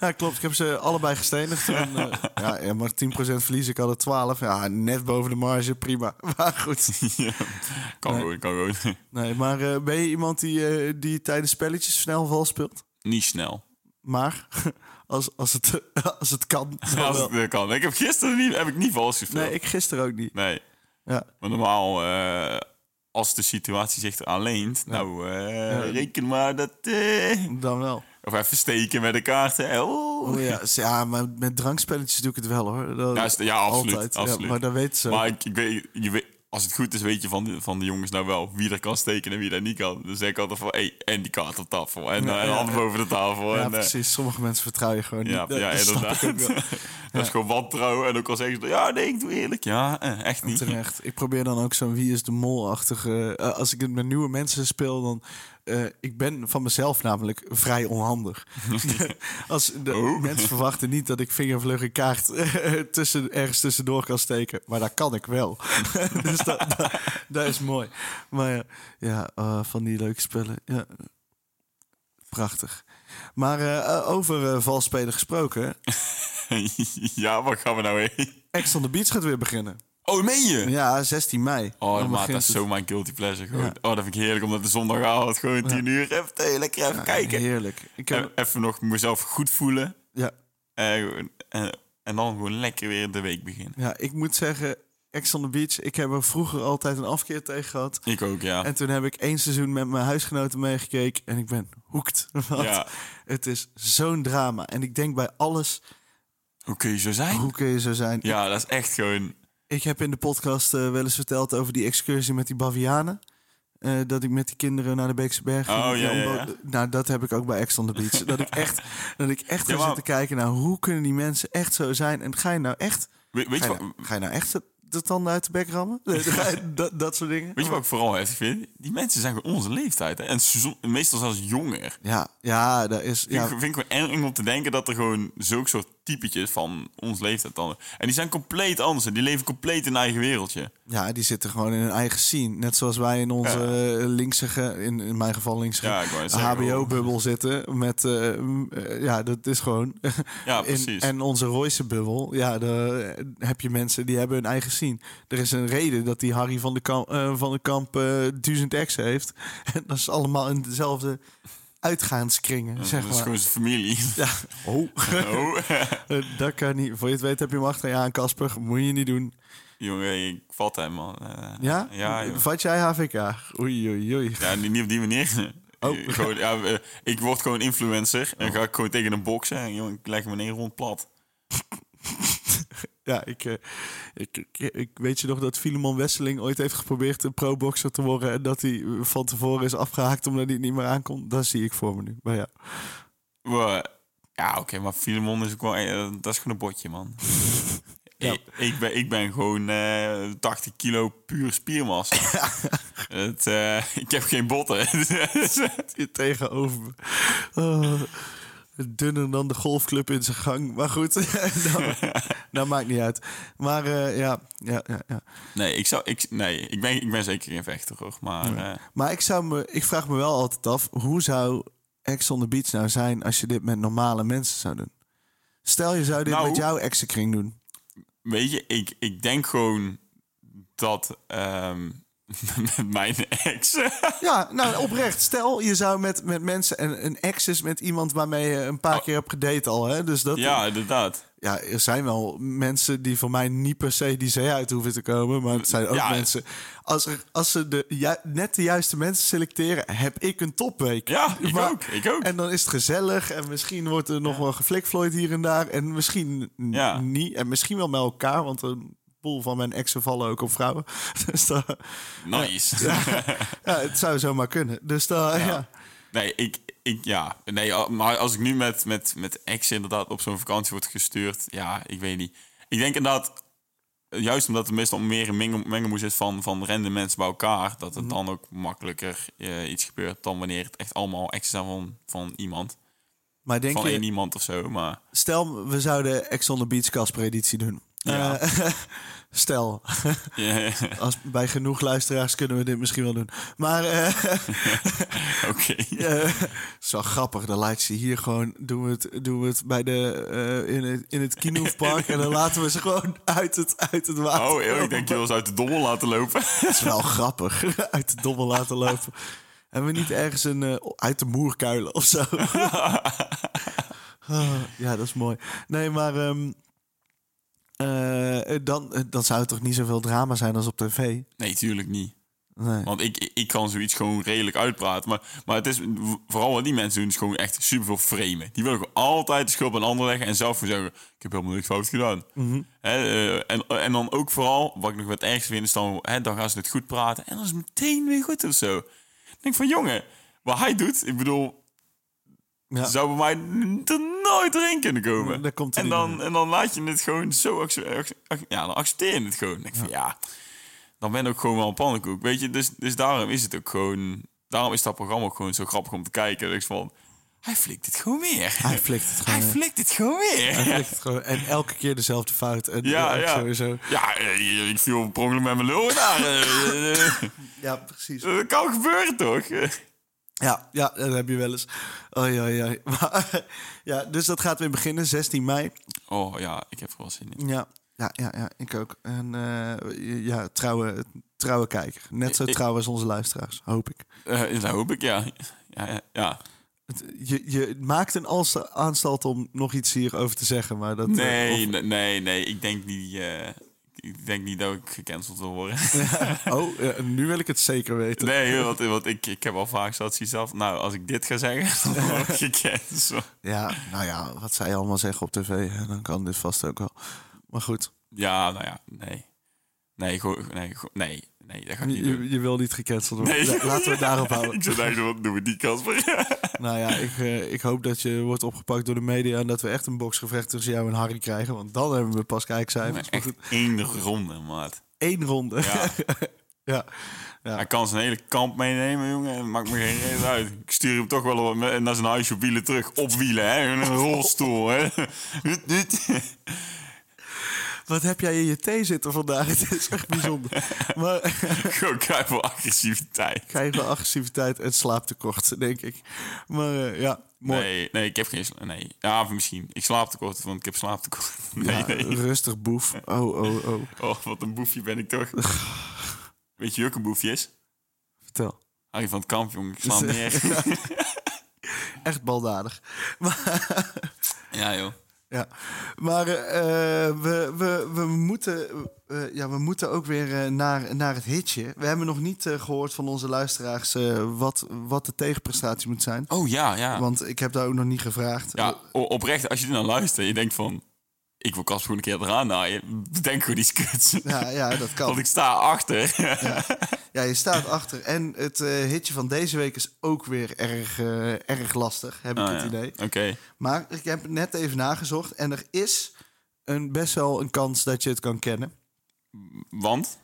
Speaker 2: ja, klopt. Ik heb ze allebei gestenigd. En, eh, ja, ja, maar 10% verlies. Ik had er 12. Ja, net boven de marge. Prima. Maar goed.
Speaker 1: Ja, kan gewoon, kan gewoon.
Speaker 2: Nee, maar eh, ben je iemand die, eh, die tijdens spelletjes snel vals speelt?
Speaker 1: Niet snel.
Speaker 2: Maar als, als, het, als het kan. dan
Speaker 1: Als
Speaker 2: wel.
Speaker 1: het eh, kan. Ik heb gisteren niet, heb ik niet vals gespeeld.
Speaker 2: Nee,
Speaker 1: Nee,
Speaker 2: ik gisteren ook niet. Ja.
Speaker 1: maar normaal, eh, als de situatie zich eraan leent, nou, eh, reken maar dat... eh,
Speaker 2: Dan wel.
Speaker 1: of even steken met de kaarten. hè. Oh.
Speaker 2: Oh ja, s- ja, maar met drankspelletjes doe ik het wel hoor. Dat-
Speaker 1: Ja, is- ja, absoluut,
Speaker 2: Ja,
Speaker 1: absoluut.
Speaker 2: maar dat weten ze.
Speaker 1: Maar ik, ik weet, je weet, als het goed is, weet je van, de- van de jongens nou wel wie er kan steken en wie er niet kan. Dus ik altijd van, hé, en die kaart op tafel. En, eh, en
Speaker 2: ja,
Speaker 1: handen
Speaker 2: ja.
Speaker 1: boven de tafel.
Speaker 2: ja,
Speaker 1: en, eh,
Speaker 2: precies. Sommige mensen vertrouw je gewoon
Speaker 1: Ja,
Speaker 2: niet. Dat-
Speaker 1: ja
Speaker 2: dat snap ik
Speaker 1: inderdaad.
Speaker 2: ook wel.
Speaker 1: dat is gewoon wantrouwen. En ook al zeggen ze, ja, nee, ik doe eerlijk. Ja, eh, echt niet.
Speaker 2: Terecht. Ik probeer dan ook zo'n wie is de mol-achtige... eh, als ik het met nieuwe mensen speel, dan... eh, ik ben van mezelf namelijk vrij onhandig. als de
Speaker 1: Oh.
Speaker 2: mensen verwachten niet dat ik vingervlug een kaart eh, tussen, ergens tussendoor kan steken. Maar dat kan ik wel. dus dat, dat, dat is mooi. Maar ja, ja eh, van die leuke spullen. Ja. Prachtig. Maar eh, eh, over eh, vals spelen gesproken.
Speaker 1: ja, waar gaan we nou heen?
Speaker 2: Ex on the Beach gaat weer beginnen.
Speaker 1: Oh, meen je?
Speaker 2: Ja, 16 mei.
Speaker 1: Oh,
Speaker 2: Dan
Speaker 1: maat,
Speaker 2: begint
Speaker 1: dat is
Speaker 2: het.
Speaker 1: zo mijn guilty pleasure. Gewoon. Oh, dat vind ik heerlijk, omdat de zondagavond gewoon 10 uur even de hele keer even kijken.
Speaker 2: Heerlijk. Ik heb,
Speaker 1: E- Even nog mezelf goed voelen.
Speaker 2: ja,
Speaker 1: Eh, gewoon- en, en dan gewoon lekker weer de week beginnen.
Speaker 2: ja, ik moet zeggen, Ex on the Beach, ik heb er vroeger altijd een afkeer tegen gehad.
Speaker 1: Ik ook, ja.
Speaker 2: En toen heb ik één seizoen met mijn huisgenoten meegekeken en ik ben hoekt. Want
Speaker 1: Ja.
Speaker 2: het is zo'n drama. En ik denk bij alles,
Speaker 1: Hoe kun je zo zijn?
Speaker 2: hoe kun je zo zijn?
Speaker 1: Ja, dat is echt gewoon...
Speaker 2: Ik heb in de podcast eh, wel eens verteld over die excursie met die bavianen. Eh, dat ik met die kinderen naar de Beekse Berg ging.
Speaker 1: Oh, ja, ja, ja.
Speaker 2: bo- Nou, dat heb ik ook bij Ex on the Beach. dat ik echt, dat ik echt
Speaker 1: Ja,
Speaker 2: ga
Speaker 1: maar-
Speaker 2: zitten kijken naar hoe kunnen die mensen echt zo zijn. En ga je nou echt,
Speaker 1: We- weet
Speaker 2: ga
Speaker 1: je
Speaker 2: je
Speaker 1: wat?
Speaker 2: nou, ga je nou echt zo- de tanden uit de bek rammen? Nee, dat- dat, dat soort dingen.
Speaker 1: Weet je wat ik vooral heftig vind? Die mensen zijn gewoon onze leeftijd. Hè? En zo- meestal zelfs jonger.
Speaker 2: Ja, ja, daar is...
Speaker 1: Vind,
Speaker 2: Ja,
Speaker 1: ik, vind ik wel eng om te denken dat er gewoon zulke soort typetjes van ons leeftijd dan... En die zijn compleet anders. en Die leven compleet in hun eigen wereldje.
Speaker 2: ja, die zitten gewoon in hun eigen scene. Net zoals wij in onze eh, linksige, in, in mijn geval linksige,
Speaker 1: Ja, ik wou net zeggen, oh.
Speaker 2: HBO-bubbel zitten. Met, eh, m, eh, ja, dat is gewoon...
Speaker 1: Ja,
Speaker 2: In-
Speaker 1: precies.
Speaker 2: en onze Royce bubbel, ja, daar heb je mensen die hebben hun eigen scene. Er is een reden dat die Harry van de Kamp, eh, van de Kamp eh, duizend ex heeft. En dat is allemaal in dezelfde uitgaanskringen,
Speaker 1: dat
Speaker 2: zeg
Speaker 1: is
Speaker 2: maar.
Speaker 1: gewoon zijn familie.
Speaker 2: Ja. Oh.
Speaker 1: Oh.
Speaker 2: Eh, dat kan niet. Voor je het weet heb je hem achter je aan, Casper. Moet je niet doen.
Speaker 1: Jongen, ik vat hem, man. Eh,
Speaker 2: Ja?
Speaker 1: Ja, joh.
Speaker 2: Vat jij HVK? Oei, oei, oei.
Speaker 1: Ja, niet niet op die manier.
Speaker 2: Oh.
Speaker 1: Ik- gewoon, ja, eh, ik word gewoon influencer en ga ik gewoon tegen een boksen. En jongen, ik leg hem in één rond plat.
Speaker 2: Ja, ik, eh, ik, ik, ik weet je nog dat Filemon Wesseling ooit heeft geprobeerd een pro-boxer te worden. En dat hij eh, van tevoren is afgehaakt omdat hij het niet meer aankomt. Dat zie ik voor me nu. Maar ja.
Speaker 1: Wow. Ja, oké, maar Filemon is ook wel... eh, dat is gewoon een botje, man.
Speaker 2: Ja.
Speaker 1: Ik, ik ben, ik ben gewoon eh 80 kilo puur spiermassa. Het, eh, ik heb geen botten.
Speaker 2: hier tegenover me. Oh, dunner dan de golfclub in zijn gang. Maar goed, dat, dat maakt niet uit. Maar eh, ja, ja, ja, ja.
Speaker 1: nee, ik zou, ik, nee ik, ben, ik ben zeker geen vechter, hoor. Maar eh,
Speaker 2: Maar ik, zou me, ik vraag me wel altijd af... hoe zou Ex on the Beach nou zijn... als je dit met normale mensen zou doen? Stel, je zou dit
Speaker 1: Nou.
Speaker 2: met jouw exenkring doen.
Speaker 1: weet je, ik, ik denk gewoon dat... ehm, met mijn ex...
Speaker 2: Ja, nou oprecht. Stel, je zou met, met mensen... en een ex is met iemand waarmee je een paar keer hebt gedate al. Hè? Dus dat,
Speaker 1: Ja, inderdaad.
Speaker 2: ja, er zijn wel mensen die voor mij niet per se die zee uit hoeven te komen. Maar het zijn ook
Speaker 1: Ja.
Speaker 2: mensen. Als, er, als ze de, ju- net de juiste mensen selecteren, heb ik een topweek.
Speaker 1: Ja, ik ook, ik ook.
Speaker 2: En dan is het gezellig. En misschien wordt er nog wel geflikvlooid hier en daar. En misschien n-
Speaker 1: Ja.
Speaker 2: niet. En misschien wel met elkaar. Want een boel van mijn exen vallen ook op vrouwen. Dus dat,
Speaker 1: Nice.
Speaker 2: ja, het zou zomaar kunnen. Dus dat, ja.
Speaker 1: Nee, ik, ik ja. Nee, al- maar als ik nu met, met, met ex inderdaad op zo'n vakantie word gestuurd, ja, ik weet niet. Ik denk inderdaad, juist omdat er meestal meer een mengel- mengelmoes is van, van random mensen bij elkaar, dat het dan ook makkelijker eh, iets gebeurt dan wanneer het echt allemaal exen zijn van, van iemand.
Speaker 2: Maar denk
Speaker 1: van
Speaker 2: je,
Speaker 1: één iemand of zo, maar
Speaker 2: stel we zouden Ex on the Beach Casper editie doen.
Speaker 1: Ja.
Speaker 2: Eh, stel.
Speaker 1: ja,
Speaker 2: Als, bij genoeg luisteraars kunnen we dit misschien wel doen. Maar eh
Speaker 1: oké.
Speaker 2: eh, het is wel grappig. Dan laat je ze hier gewoon. Doen we het, doen we het bij de, eh, in het, in het Kinoefpark. en dan laten we ze gewoon uit het, uit het water.
Speaker 1: Oh, joh, ik denk je wil ze uit de dommel laten lopen.
Speaker 2: Dat is wel grappig. uit de dommel laten lopen. Hebben we niet ergens een. eh, uit de moerkuilen of zo? Ah, ja, dat is mooi. Nee, maar. ehm, eh, dan, dan zou het toch niet zoveel drama zijn als op tv?
Speaker 1: Nee, tuurlijk niet.
Speaker 2: Nee.
Speaker 1: Want ik, ik- ik kan zoiets gewoon redelijk uitpraten. Maar, maar het is vooral wat die mensen doen, is gewoon echt super veel framen. Die willen gewoon altijd de schuld bij een ander leggen en zelf gewoon zeggen: Ik heb helemaal niks fout gedaan.
Speaker 2: Mhm.
Speaker 1: Hè, eh, en, en dan ook vooral, wat ik nog wat ergste vind, is dan, hè, dan gaan ze het goed praten en dan is het meteen weer goed of zo. Ik denk van jongen, wat hij doet, ik bedoel,
Speaker 2: Ja.
Speaker 1: zou bij mij n- er nooit doorheen kunnen komen.
Speaker 2: Daar komt hij
Speaker 1: en,
Speaker 2: niet
Speaker 1: dan, en dan laat je het gewoon zo... acce- acce- acce- Ja, dan accepteer je het gewoon. Dan denk ik van, ja, dan ben ik ook gewoon wel een pannenkoek. Weet je, dus, dus daarom is het ook gewoon... Daarom is dat programma ook gewoon zo grappig om te kijken. Dat ik van, hij flikt het gewoon weer.
Speaker 2: Hij flikt het gewoon
Speaker 1: Hij
Speaker 2: weer.
Speaker 1: flikt het gewoon weer.
Speaker 2: Hij flikt het gewoon. En elke keer dezelfde fout. En
Speaker 1: Ja,
Speaker 2: ook
Speaker 1: ja.
Speaker 2: Sowieso.
Speaker 1: Ja, eh, ik viel per ongeluk met mijn lul daar. Eh, eh, eh,
Speaker 2: Ja, precies.
Speaker 1: Dat kan gebeuren, toch? Eh,
Speaker 2: Ja, ja dat heb je wel eens. Oh ja, ja. Maar, ja. Dus dat gaat weer beginnen, 16 mei.
Speaker 1: Oh ja, ik heb er wel zin in.
Speaker 2: Ja, ja, ja, ja ik ook. En eh, ja, trouwe, trouwe kijker. Net zo
Speaker 1: Ik- ik-
Speaker 2: trouw als onze luisteraars, hoop ik.
Speaker 1: Eh, dat hoop ik, ja. Ja, ja, ja.
Speaker 2: Het- Je, je maakt een als- aanstalt om nog iets hierover te zeggen, maar dat... eh,
Speaker 1: Nee, nee, nee, nee. Ik denk niet, eh, ik denk niet dat ik gecanceld wil worden.
Speaker 2: oh, eh, nu wil ik het zeker weten.
Speaker 1: nee, joh, want, want ik, ik heb al vaak zoiets zelf. Nou, als ik dit ga zeggen, dan word ik gecanceld.
Speaker 2: Ja, nou ja, wat zij allemaal zeggen op tv, hè, dan kan dit vast ook wel. Maar goed.
Speaker 1: Ja, nou ja, nee. Nee, go- nee, go- nee, nee, dat ga ik niet doen.
Speaker 2: Je, je wil niet gecanceld worden.
Speaker 1: Nee.
Speaker 2: La- Laten we het daarop houden.
Speaker 1: Ik zou eigenlijk wat doen we die Casper.
Speaker 2: Nou ja, ik, eh, ik hoop dat je wordt opgepakt door de media... en dat we echt een boksgevecht tussen jou en Harry krijgen. Want dan hebben we pas kijkcijfers.
Speaker 1: Maar
Speaker 2: Maar goed,
Speaker 1: echt één ronde, maat.
Speaker 2: één ronde.
Speaker 1: Ja.
Speaker 2: Ja.
Speaker 1: Hij kan zijn hele kamp meenemen, jongen. en maakt me geen reden uit. Ik stuur hem toch wel op- naar zijn huisje op wielen terug. Op wielen, hè. In een rolstoel, hè. Hut, hut.
Speaker 2: Wat heb jij in je thee zitten vandaag? Het is echt bijzonder. Maar
Speaker 1: Gewoon keihard agressiviteit.
Speaker 2: krijg wel agressiviteit en slaaptekort, denk ik. Maar eh, ja, mooi.
Speaker 1: Nee, nee, ik heb geen... sla- Nee, ja, of misschien. Ik slaap tekort, want ik heb slaaptekort. Nee,
Speaker 2: Ja,
Speaker 1: nee.
Speaker 2: Rustig boef. Oh, oh, oh.
Speaker 1: Oh, wat een boefje ben ik toch. Weet je wie ook een boefje is?
Speaker 2: Vertel.
Speaker 1: Harry van het Kamp, jongen. Ik sla hem neer.
Speaker 2: Echt baldadig.
Speaker 1: Ja, joh.
Speaker 2: Ja. Maar eh, eh, we, we, we, moeten, eh, ja, we moeten ook weer eh, naar, naar het hitje. We hebben nog niet eh, gehoord van onze luisteraars eh, wat, wat de tegenprestatie moet zijn.
Speaker 1: Oh, ja, ja.
Speaker 2: Want ik heb daar ook nog niet gevraagd.
Speaker 1: Ja, o- oprecht, als je er naar luistert en je denkt van... Ik wil Casper gewoon een keer eraan naaien. Denk gewoon iets kuts.
Speaker 2: Ja, ja, dat
Speaker 1: Want
Speaker 2: kan.
Speaker 1: ik sta achter.
Speaker 2: Ja, je staat achter. En het eh, hitje van deze week is ook weer erg, eh, erg lastig, heb ik
Speaker 1: Ah,
Speaker 2: het
Speaker 1: ja.
Speaker 2: idee.
Speaker 1: Oké.
Speaker 2: Maar ik heb net even nagezocht en er is een, best wel een kans dat je het kan kennen.
Speaker 1: Want?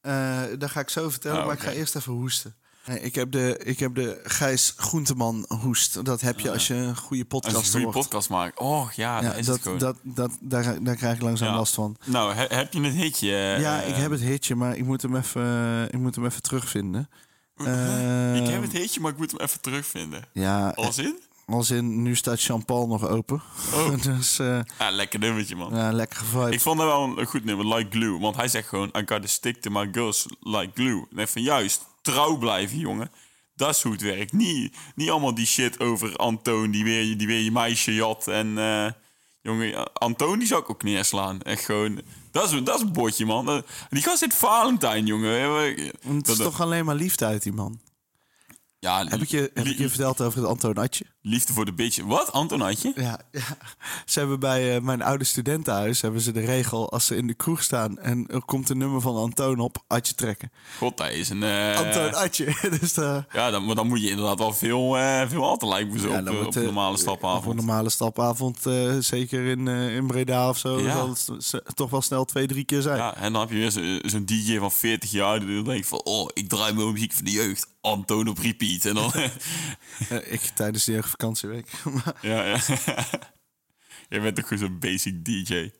Speaker 2: Eh dat ga ik zo vertellen,
Speaker 1: Oh,
Speaker 2: maar ik ga
Speaker 1: oké.
Speaker 2: eerst even hoesten. Nee, ik, heb de, ik heb de Gijs Groenteman hoest. Dat heb je als je een goede
Speaker 1: Ah. Als je een
Speaker 2: podcast
Speaker 1: goede
Speaker 2: hoort.
Speaker 1: podcast maakt. Oh ja,
Speaker 2: ja,
Speaker 1: dat is
Speaker 2: dat,
Speaker 1: het gewoon.
Speaker 2: dat, dat, daar, daar krijg ik langzaam
Speaker 1: Ja.
Speaker 2: last van.
Speaker 1: Nou, he- heb je het hitje? eh,
Speaker 2: ja, ik heb het hitje, maar ik moet hem even, eh, ik moet hem even terugvinden. Eh,
Speaker 1: Ik heb het hitje, maar ik moet hem even terugvinden.
Speaker 2: Ja,
Speaker 1: Als in?
Speaker 2: als in nu staat Champagne nog open.
Speaker 1: Oh.
Speaker 2: dus eh,
Speaker 1: Ja, lekker nummertje, man.
Speaker 2: ja, lekker gevibe.
Speaker 1: Ik vond dat wel een goed nummer, Like Glue. Want hij zegt gewoon, I gotta stick to my girls like glue. En ik van, juist, trouw blijven, jongen. Dat is hoe het werkt. Niet, niet allemaal die shit over Antoon, die weer, je- die weer je meisje jat. En, eh, jongen, Antoon die zou ik ook neerslaan. Echt gewoon, dat is, dat is een botje, man. Eh, Die gast heet Valentijn, jongen. Eh,
Speaker 2: Het is
Speaker 1: dat-
Speaker 2: toch alleen maar liefde uit die man.
Speaker 1: Ja,
Speaker 2: Heb ik je, heb ik je verteld over het Antonatje?
Speaker 1: Liefde voor de bitch. Wat, Antonatje?
Speaker 2: Ja, ja. Ze hebben bij eh, mijn oude studentenhuis hebben ze de regel... als ze in de kroeg staan en er komt een nummer van Antoon op... Atje trekken.
Speaker 1: God, hij is een... eh,
Speaker 2: Antoon, Atje. dus eh,
Speaker 1: Ja, dan, maar dan moet je inderdaad wel veel, eh veel altijd lijken
Speaker 2: ja,
Speaker 1: op,
Speaker 2: dan
Speaker 1: eh, op
Speaker 2: wordt,
Speaker 1: een
Speaker 2: eh,
Speaker 1: normale
Speaker 2: Op een
Speaker 1: stapavond.
Speaker 2: normale stapavond, eh, zeker in, eh, in Breda of zo...
Speaker 1: Ja.
Speaker 2: zal het s- s- toch wel snel twee, drie keer zijn.
Speaker 1: Ja, en dan heb je weer zo- zo'n DJ van 40 jaar die dan denkt van... Oh, ik draai mijn muziek van de jeugd. Anton op repeat. En dan...
Speaker 2: Eh, ik tijdens de jeugdvakantieweek. Maar-
Speaker 1: ja, ja. Jij bent toch gewoon zo'n basic DJ. Vind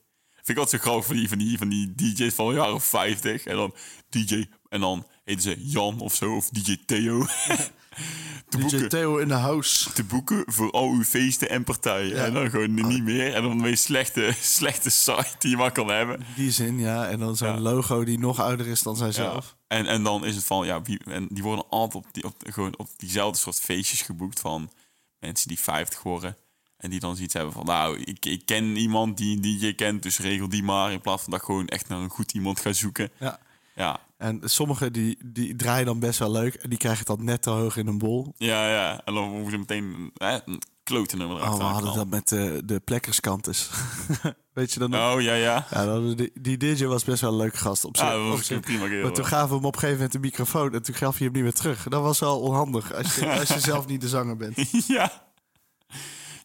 Speaker 1: ik altijd zo grappig van die, van die, van die DJ's van de jaren 50. En dan DJ... En dan heten ze Jan of zo. Of DJ Theo. te,
Speaker 2: DJ
Speaker 1: boeken,
Speaker 2: Theo in de house.
Speaker 1: te boeken voor al uw feesten en partijen.
Speaker 2: Ja.
Speaker 1: En dan gewoon niet meer. En dan de meest slechte, slechte site die je maar kan hebben.
Speaker 2: Die zin, ja. En dan zo'n logo die nog ouder is dan zijzelf.
Speaker 1: Ja. En, en dan is het van, ja, wie, en die worden altijd op, die, op, gewoon op diezelfde soort feestjes geboekt van mensen die 50 worden. En die dan zoiets hebben van, nou, ik, ik ken iemand die, die je kent, dus regel die maar. In plaats van dat ik gewoon echt naar een goed iemand gaan zoeken.
Speaker 2: Ja.
Speaker 1: Ja,
Speaker 2: En sommigen die, die draaien dan best wel leuk. En die krijgen het dan net te hoog in een bol.
Speaker 1: ja, ja. En dan moeten ze meteen hè, een klote nummer
Speaker 2: Oh,
Speaker 1: erachter
Speaker 2: we hadden dat
Speaker 1: knallen.
Speaker 2: met eh, de plekkerskantes. Weet je dan nog?
Speaker 1: Oh, ja, ja.
Speaker 2: Ja, dan hadden die, die DJ was best wel een leuke gast op zich.
Speaker 1: Ja, dat
Speaker 2: op
Speaker 1: was een
Speaker 2: zich.
Speaker 1: prima kerel.
Speaker 2: maar toen gaven we hem op een gegeven moment de microfoon en toen gaf je hem niet meer terug. Dat was wel onhandig als je, als je zelf niet de zanger bent.
Speaker 1: ja.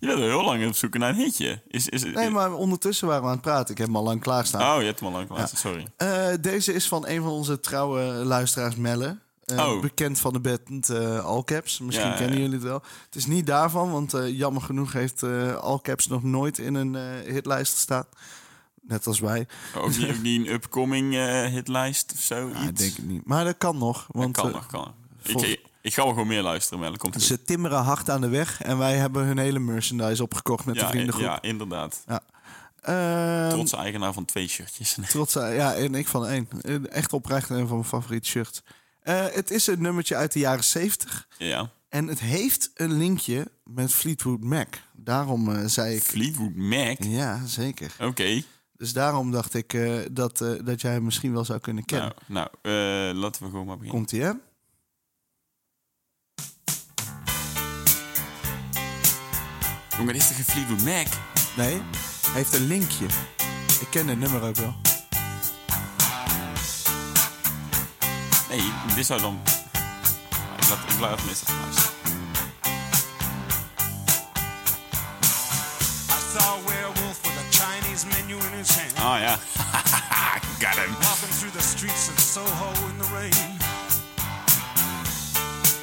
Speaker 1: Je bent al heel lang op zoek naar een hitje. Is, is,
Speaker 2: Nee, maar ondertussen waren we aan het praten. Ik heb hem al lang klaarstaan.
Speaker 1: Oh, je hebt hem al lang geluisterd, sorry.
Speaker 2: Eh, deze is van een van onze trouwe luisteraars, Melle. Eh,
Speaker 1: Oh.
Speaker 2: Bekend van de band eh All Caps. Misschien
Speaker 1: Ja,
Speaker 2: kennen
Speaker 1: ja.
Speaker 2: jullie het wel. Het is niet daarvan, want eh, jammer genoeg heeft eh All Caps nog nooit in een eh, hitlijst gestaan. Net als wij.
Speaker 1: Ook niet, ook niet een upcoming eh, hitlijst of zo?
Speaker 2: Ja, ik
Speaker 1: iets?
Speaker 2: denk het niet. Maar dat kan nog. Want
Speaker 1: kan
Speaker 2: eh,
Speaker 1: nog, kan nog.
Speaker 2: volg-
Speaker 1: Ik, ik ga wel gewoon meer luisteren, maar dat komt goed.
Speaker 2: ze timmeren hard aan de weg. En wij hebben hun hele merchandise opgekocht met de
Speaker 1: Ja, eh,
Speaker 2: vriendengroep.
Speaker 1: ja, inderdaad.
Speaker 2: Ehm,
Speaker 1: Trotse eigenaar van twee shirtjes.
Speaker 2: Trots, eh, ja, en ik van één. Eh, Echt oprecht een van mijn favoriete shirts. Eh, het is een nummertje uit de jaren 70.
Speaker 1: ja.
Speaker 2: En het heeft een linkje met Fleetwood Mac. Daarom eh, zei ik.
Speaker 1: Fleetwood Mac.
Speaker 2: Ja, zeker.
Speaker 1: Oké.
Speaker 2: Dus daarom dacht ik eh, dat, eh, dat jij hem misschien wel zou kunnen kennen.
Speaker 1: Nou, nou eh, laten we gewoon maar beginnen.
Speaker 2: Komt ie, hè?
Speaker 1: Jongen, dit is toch een Fleetwood Mac?
Speaker 2: Nee, hij heeft een linkje. Ik ken het nummer ook wel.
Speaker 1: Nee, dit zou dan... Ik laat, ik laat het meestal luisteren.
Speaker 4: I saw a werewolf with a Chinese menu in his hand.
Speaker 1: Ah ja. Got him.
Speaker 4: Walking through the streets of Soho in the rain.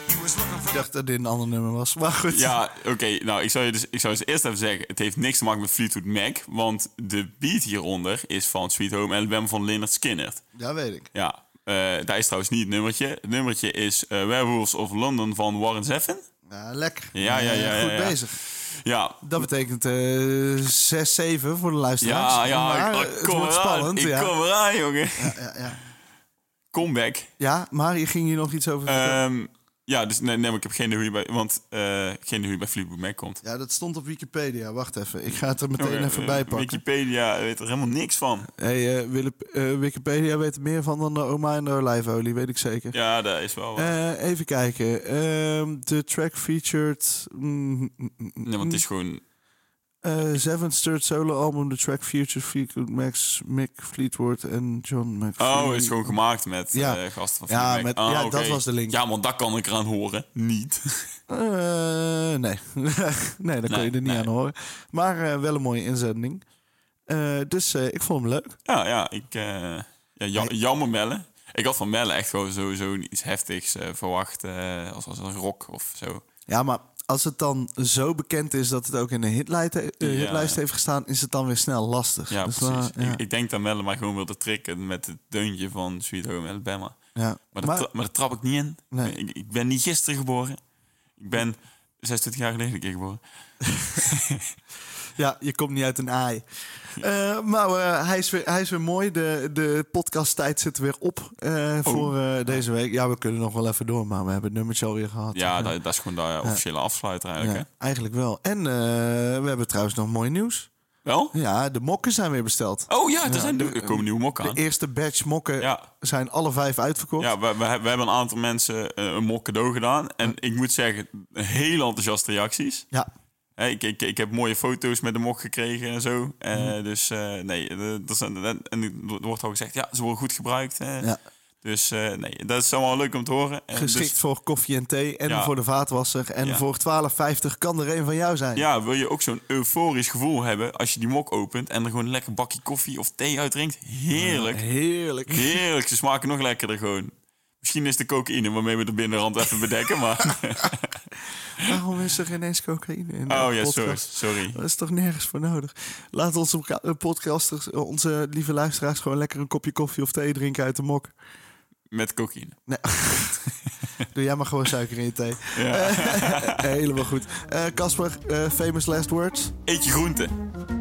Speaker 4: He was looking for
Speaker 2: Ik dacht dat dit een ander nummer was. Maar goed.
Speaker 1: Ja, oké. nou, ik zou, je dus, ik zou dus eerst even zeggen... Het heeft niks te maken met Fleetwood Mac. Want de beat hieronder is van Sweet Home Alabama van Leonard Skinner.
Speaker 2: Ja, weet ik.
Speaker 1: Ja, eh daar is trouwens niet het nummertje. Het nummertje is eh, Werewolves of London van Warren Zevon.
Speaker 2: Ja, lekker.
Speaker 1: Ja, ja, ja,
Speaker 2: Eh, Goed
Speaker 1: ja, ja.
Speaker 2: bezig.
Speaker 1: Ja,
Speaker 2: Dat betekent eh 6, 7 voor de luisteraars.
Speaker 1: ja, ja.
Speaker 2: Maar,
Speaker 1: ik-
Speaker 2: eh,
Speaker 1: ik
Speaker 2: het
Speaker 1: kom
Speaker 2: wordt
Speaker 1: eraan,
Speaker 2: spannend.
Speaker 1: Ik
Speaker 2: ja.
Speaker 1: kom eraan, jongen.
Speaker 2: Ja, ja.
Speaker 1: Comeback.
Speaker 2: ja, maar je ging hier nog iets over vertellen.
Speaker 1: Ehm, ja, dus nee, nee, maar ik heb geen idee hoe je bij... Want eh, geen idee hoe je bij Fleetwood Mac komt.
Speaker 2: Ja, dat stond op Wikipedia. Wacht even. Ik ga het er meteen
Speaker 1: Jongen,
Speaker 2: even
Speaker 1: eh,
Speaker 2: bij pakken.
Speaker 1: Wikipedia weet er helemaal niks van.
Speaker 2: hey, eh, Willem, eh, Wikipedia weet er meer van dan de Oma en de olijfolie, weet ik zeker.
Speaker 1: Ja, dat is wel... waar.
Speaker 2: Eh, even kijken. Ehm, de track featured... mm, mm, mm,
Speaker 1: nee, want het is gewoon...
Speaker 2: eh, Seven's third solo album. De track featured Fleetwood Max, Mick Fleetwood en John McVie.
Speaker 1: Oh, het is gewoon gemaakt met
Speaker 2: Ja.
Speaker 1: eh, gasten van
Speaker 2: Ja,
Speaker 1: Fleetwood Mac.
Speaker 2: met-
Speaker 1: Ah,
Speaker 2: ja,
Speaker 1: oké.
Speaker 2: dat was de link.
Speaker 1: Ja, want dat kan ik eraan horen. Niet.
Speaker 2: Eh, nee. nee, dat kon
Speaker 1: Nee,
Speaker 2: je er niet
Speaker 1: nee.
Speaker 2: aan horen. Maar eh, wel een mooie inzending. Eh, dus eh, ik vond hem leuk.
Speaker 1: Ja, ja, ik... eh, ja, ja- jammer Mellen. Ik had van Mellen echt gewoon sowieso iets heftigs eh, verwacht. eh, als, als een rock of zo.
Speaker 2: Ja, maar als het dan zo bekend is dat het ook in de hitlijst, eh,
Speaker 1: Ja.
Speaker 2: hitlijst heeft gestaan, is het dan weer snel lastig.
Speaker 1: Ja,
Speaker 2: Dus,
Speaker 1: precies.
Speaker 2: eh, ja.
Speaker 1: Ik, ik denk dat Mellen mij gewoon wilde tricken met het deuntje van Sweet Home Alabama.
Speaker 2: ja.
Speaker 1: Maar daar tra- maar daar trap ik niet in.
Speaker 2: Nee.
Speaker 1: Ik, ik ben niet gisteren geboren. Ik ben 26 jaar geleden een keer geboren.
Speaker 2: Ja, je komt niet uit een aai. Eh, maar eh, hij, is weer, hij is weer mooi. De, de podcasttijd zit er weer op eh,
Speaker 1: Oh.
Speaker 2: voor eh, deze week. Ja, we kunnen nog wel even door, maar we hebben het nummertje alweer gehad.
Speaker 1: Ja,
Speaker 2: Eh,
Speaker 1: dat, dat is gewoon de eh, officiële afsluiter eigenlijk.
Speaker 2: ja,
Speaker 1: hè?
Speaker 2: eigenlijk wel. En eh, we hebben trouwens nog mooi nieuws.
Speaker 1: Wel?
Speaker 2: Ja, de mokken zijn weer besteld.
Speaker 1: Oh ja, er, zijn, er komen nieuwe mokken
Speaker 2: De
Speaker 1: aan.
Speaker 2: eerste batch mokken
Speaker 1: Ja.
Speaker 2: zijn alle vijf uitverkocht.
Speaker 1: Ja, we, we, we hebben een aantal mensen eh, een mok cadeau gedaan. En ik moet zeggen, heel enthousiaste reacties.
Speaker 2: Ja.
Speaker 1: Hè, ik, ik, ik heb mooie foto's met de mok gekregen en zo. Eh,
Speaker 2: Mhm.
Speaker 1: Dus eh, nee, eh, dat zijn, en er wordt al gezegd, ja, ze worden goed gebruikt. hè.
Speaker 2: Ja.
Speaker 1: Dus eh, nee, dat is allemaal leuk om te horen. En dus-
Speaker 2: Geschikt voor koffie en thee en
Speaker 1: Ja.
Speaker 2: voor de vaatwasser. En
Speaker 1: Ja.
Speaker 2: voor 12,50 kan er een van jou zijn.
Speaker 1: Ja, wil je ook zo'n euforisch gevoel hebben als je die mok opent en er gewoon een lekker bakje koffie of thee uit drinkt? Heerlijk.
Speaker 2: Heerlijk.
Speaker 1: Heerlijk. Ze smaken nog lekkerder gewoon. Misschien is de cocaïne waarmee we de binnenrand even bedekken, maar...
Speaker 2: Waarom is er ineens cocaïne in? de
Speaker 1: Oh ja,
Speaker 2: podcast?
Speaker 1: sorry. sorry.
Speaker 2: Dat is toch nergens voor nodig? Laat onze ka- eh, podcasters, eh, onze lieve luisteraars, gewoon lekker een kopje koffie of thee drinken uit de mok.
Speaker 1: Met cocaïne.
Speaker 2: Nee. Doe jij maar gewoon suiker in je thee.
Speaker 1: Ja.
Speaker 2: Helemaal goed. Eh, Casper, eh, famous last words.
Speaker 1: Eet je groenten.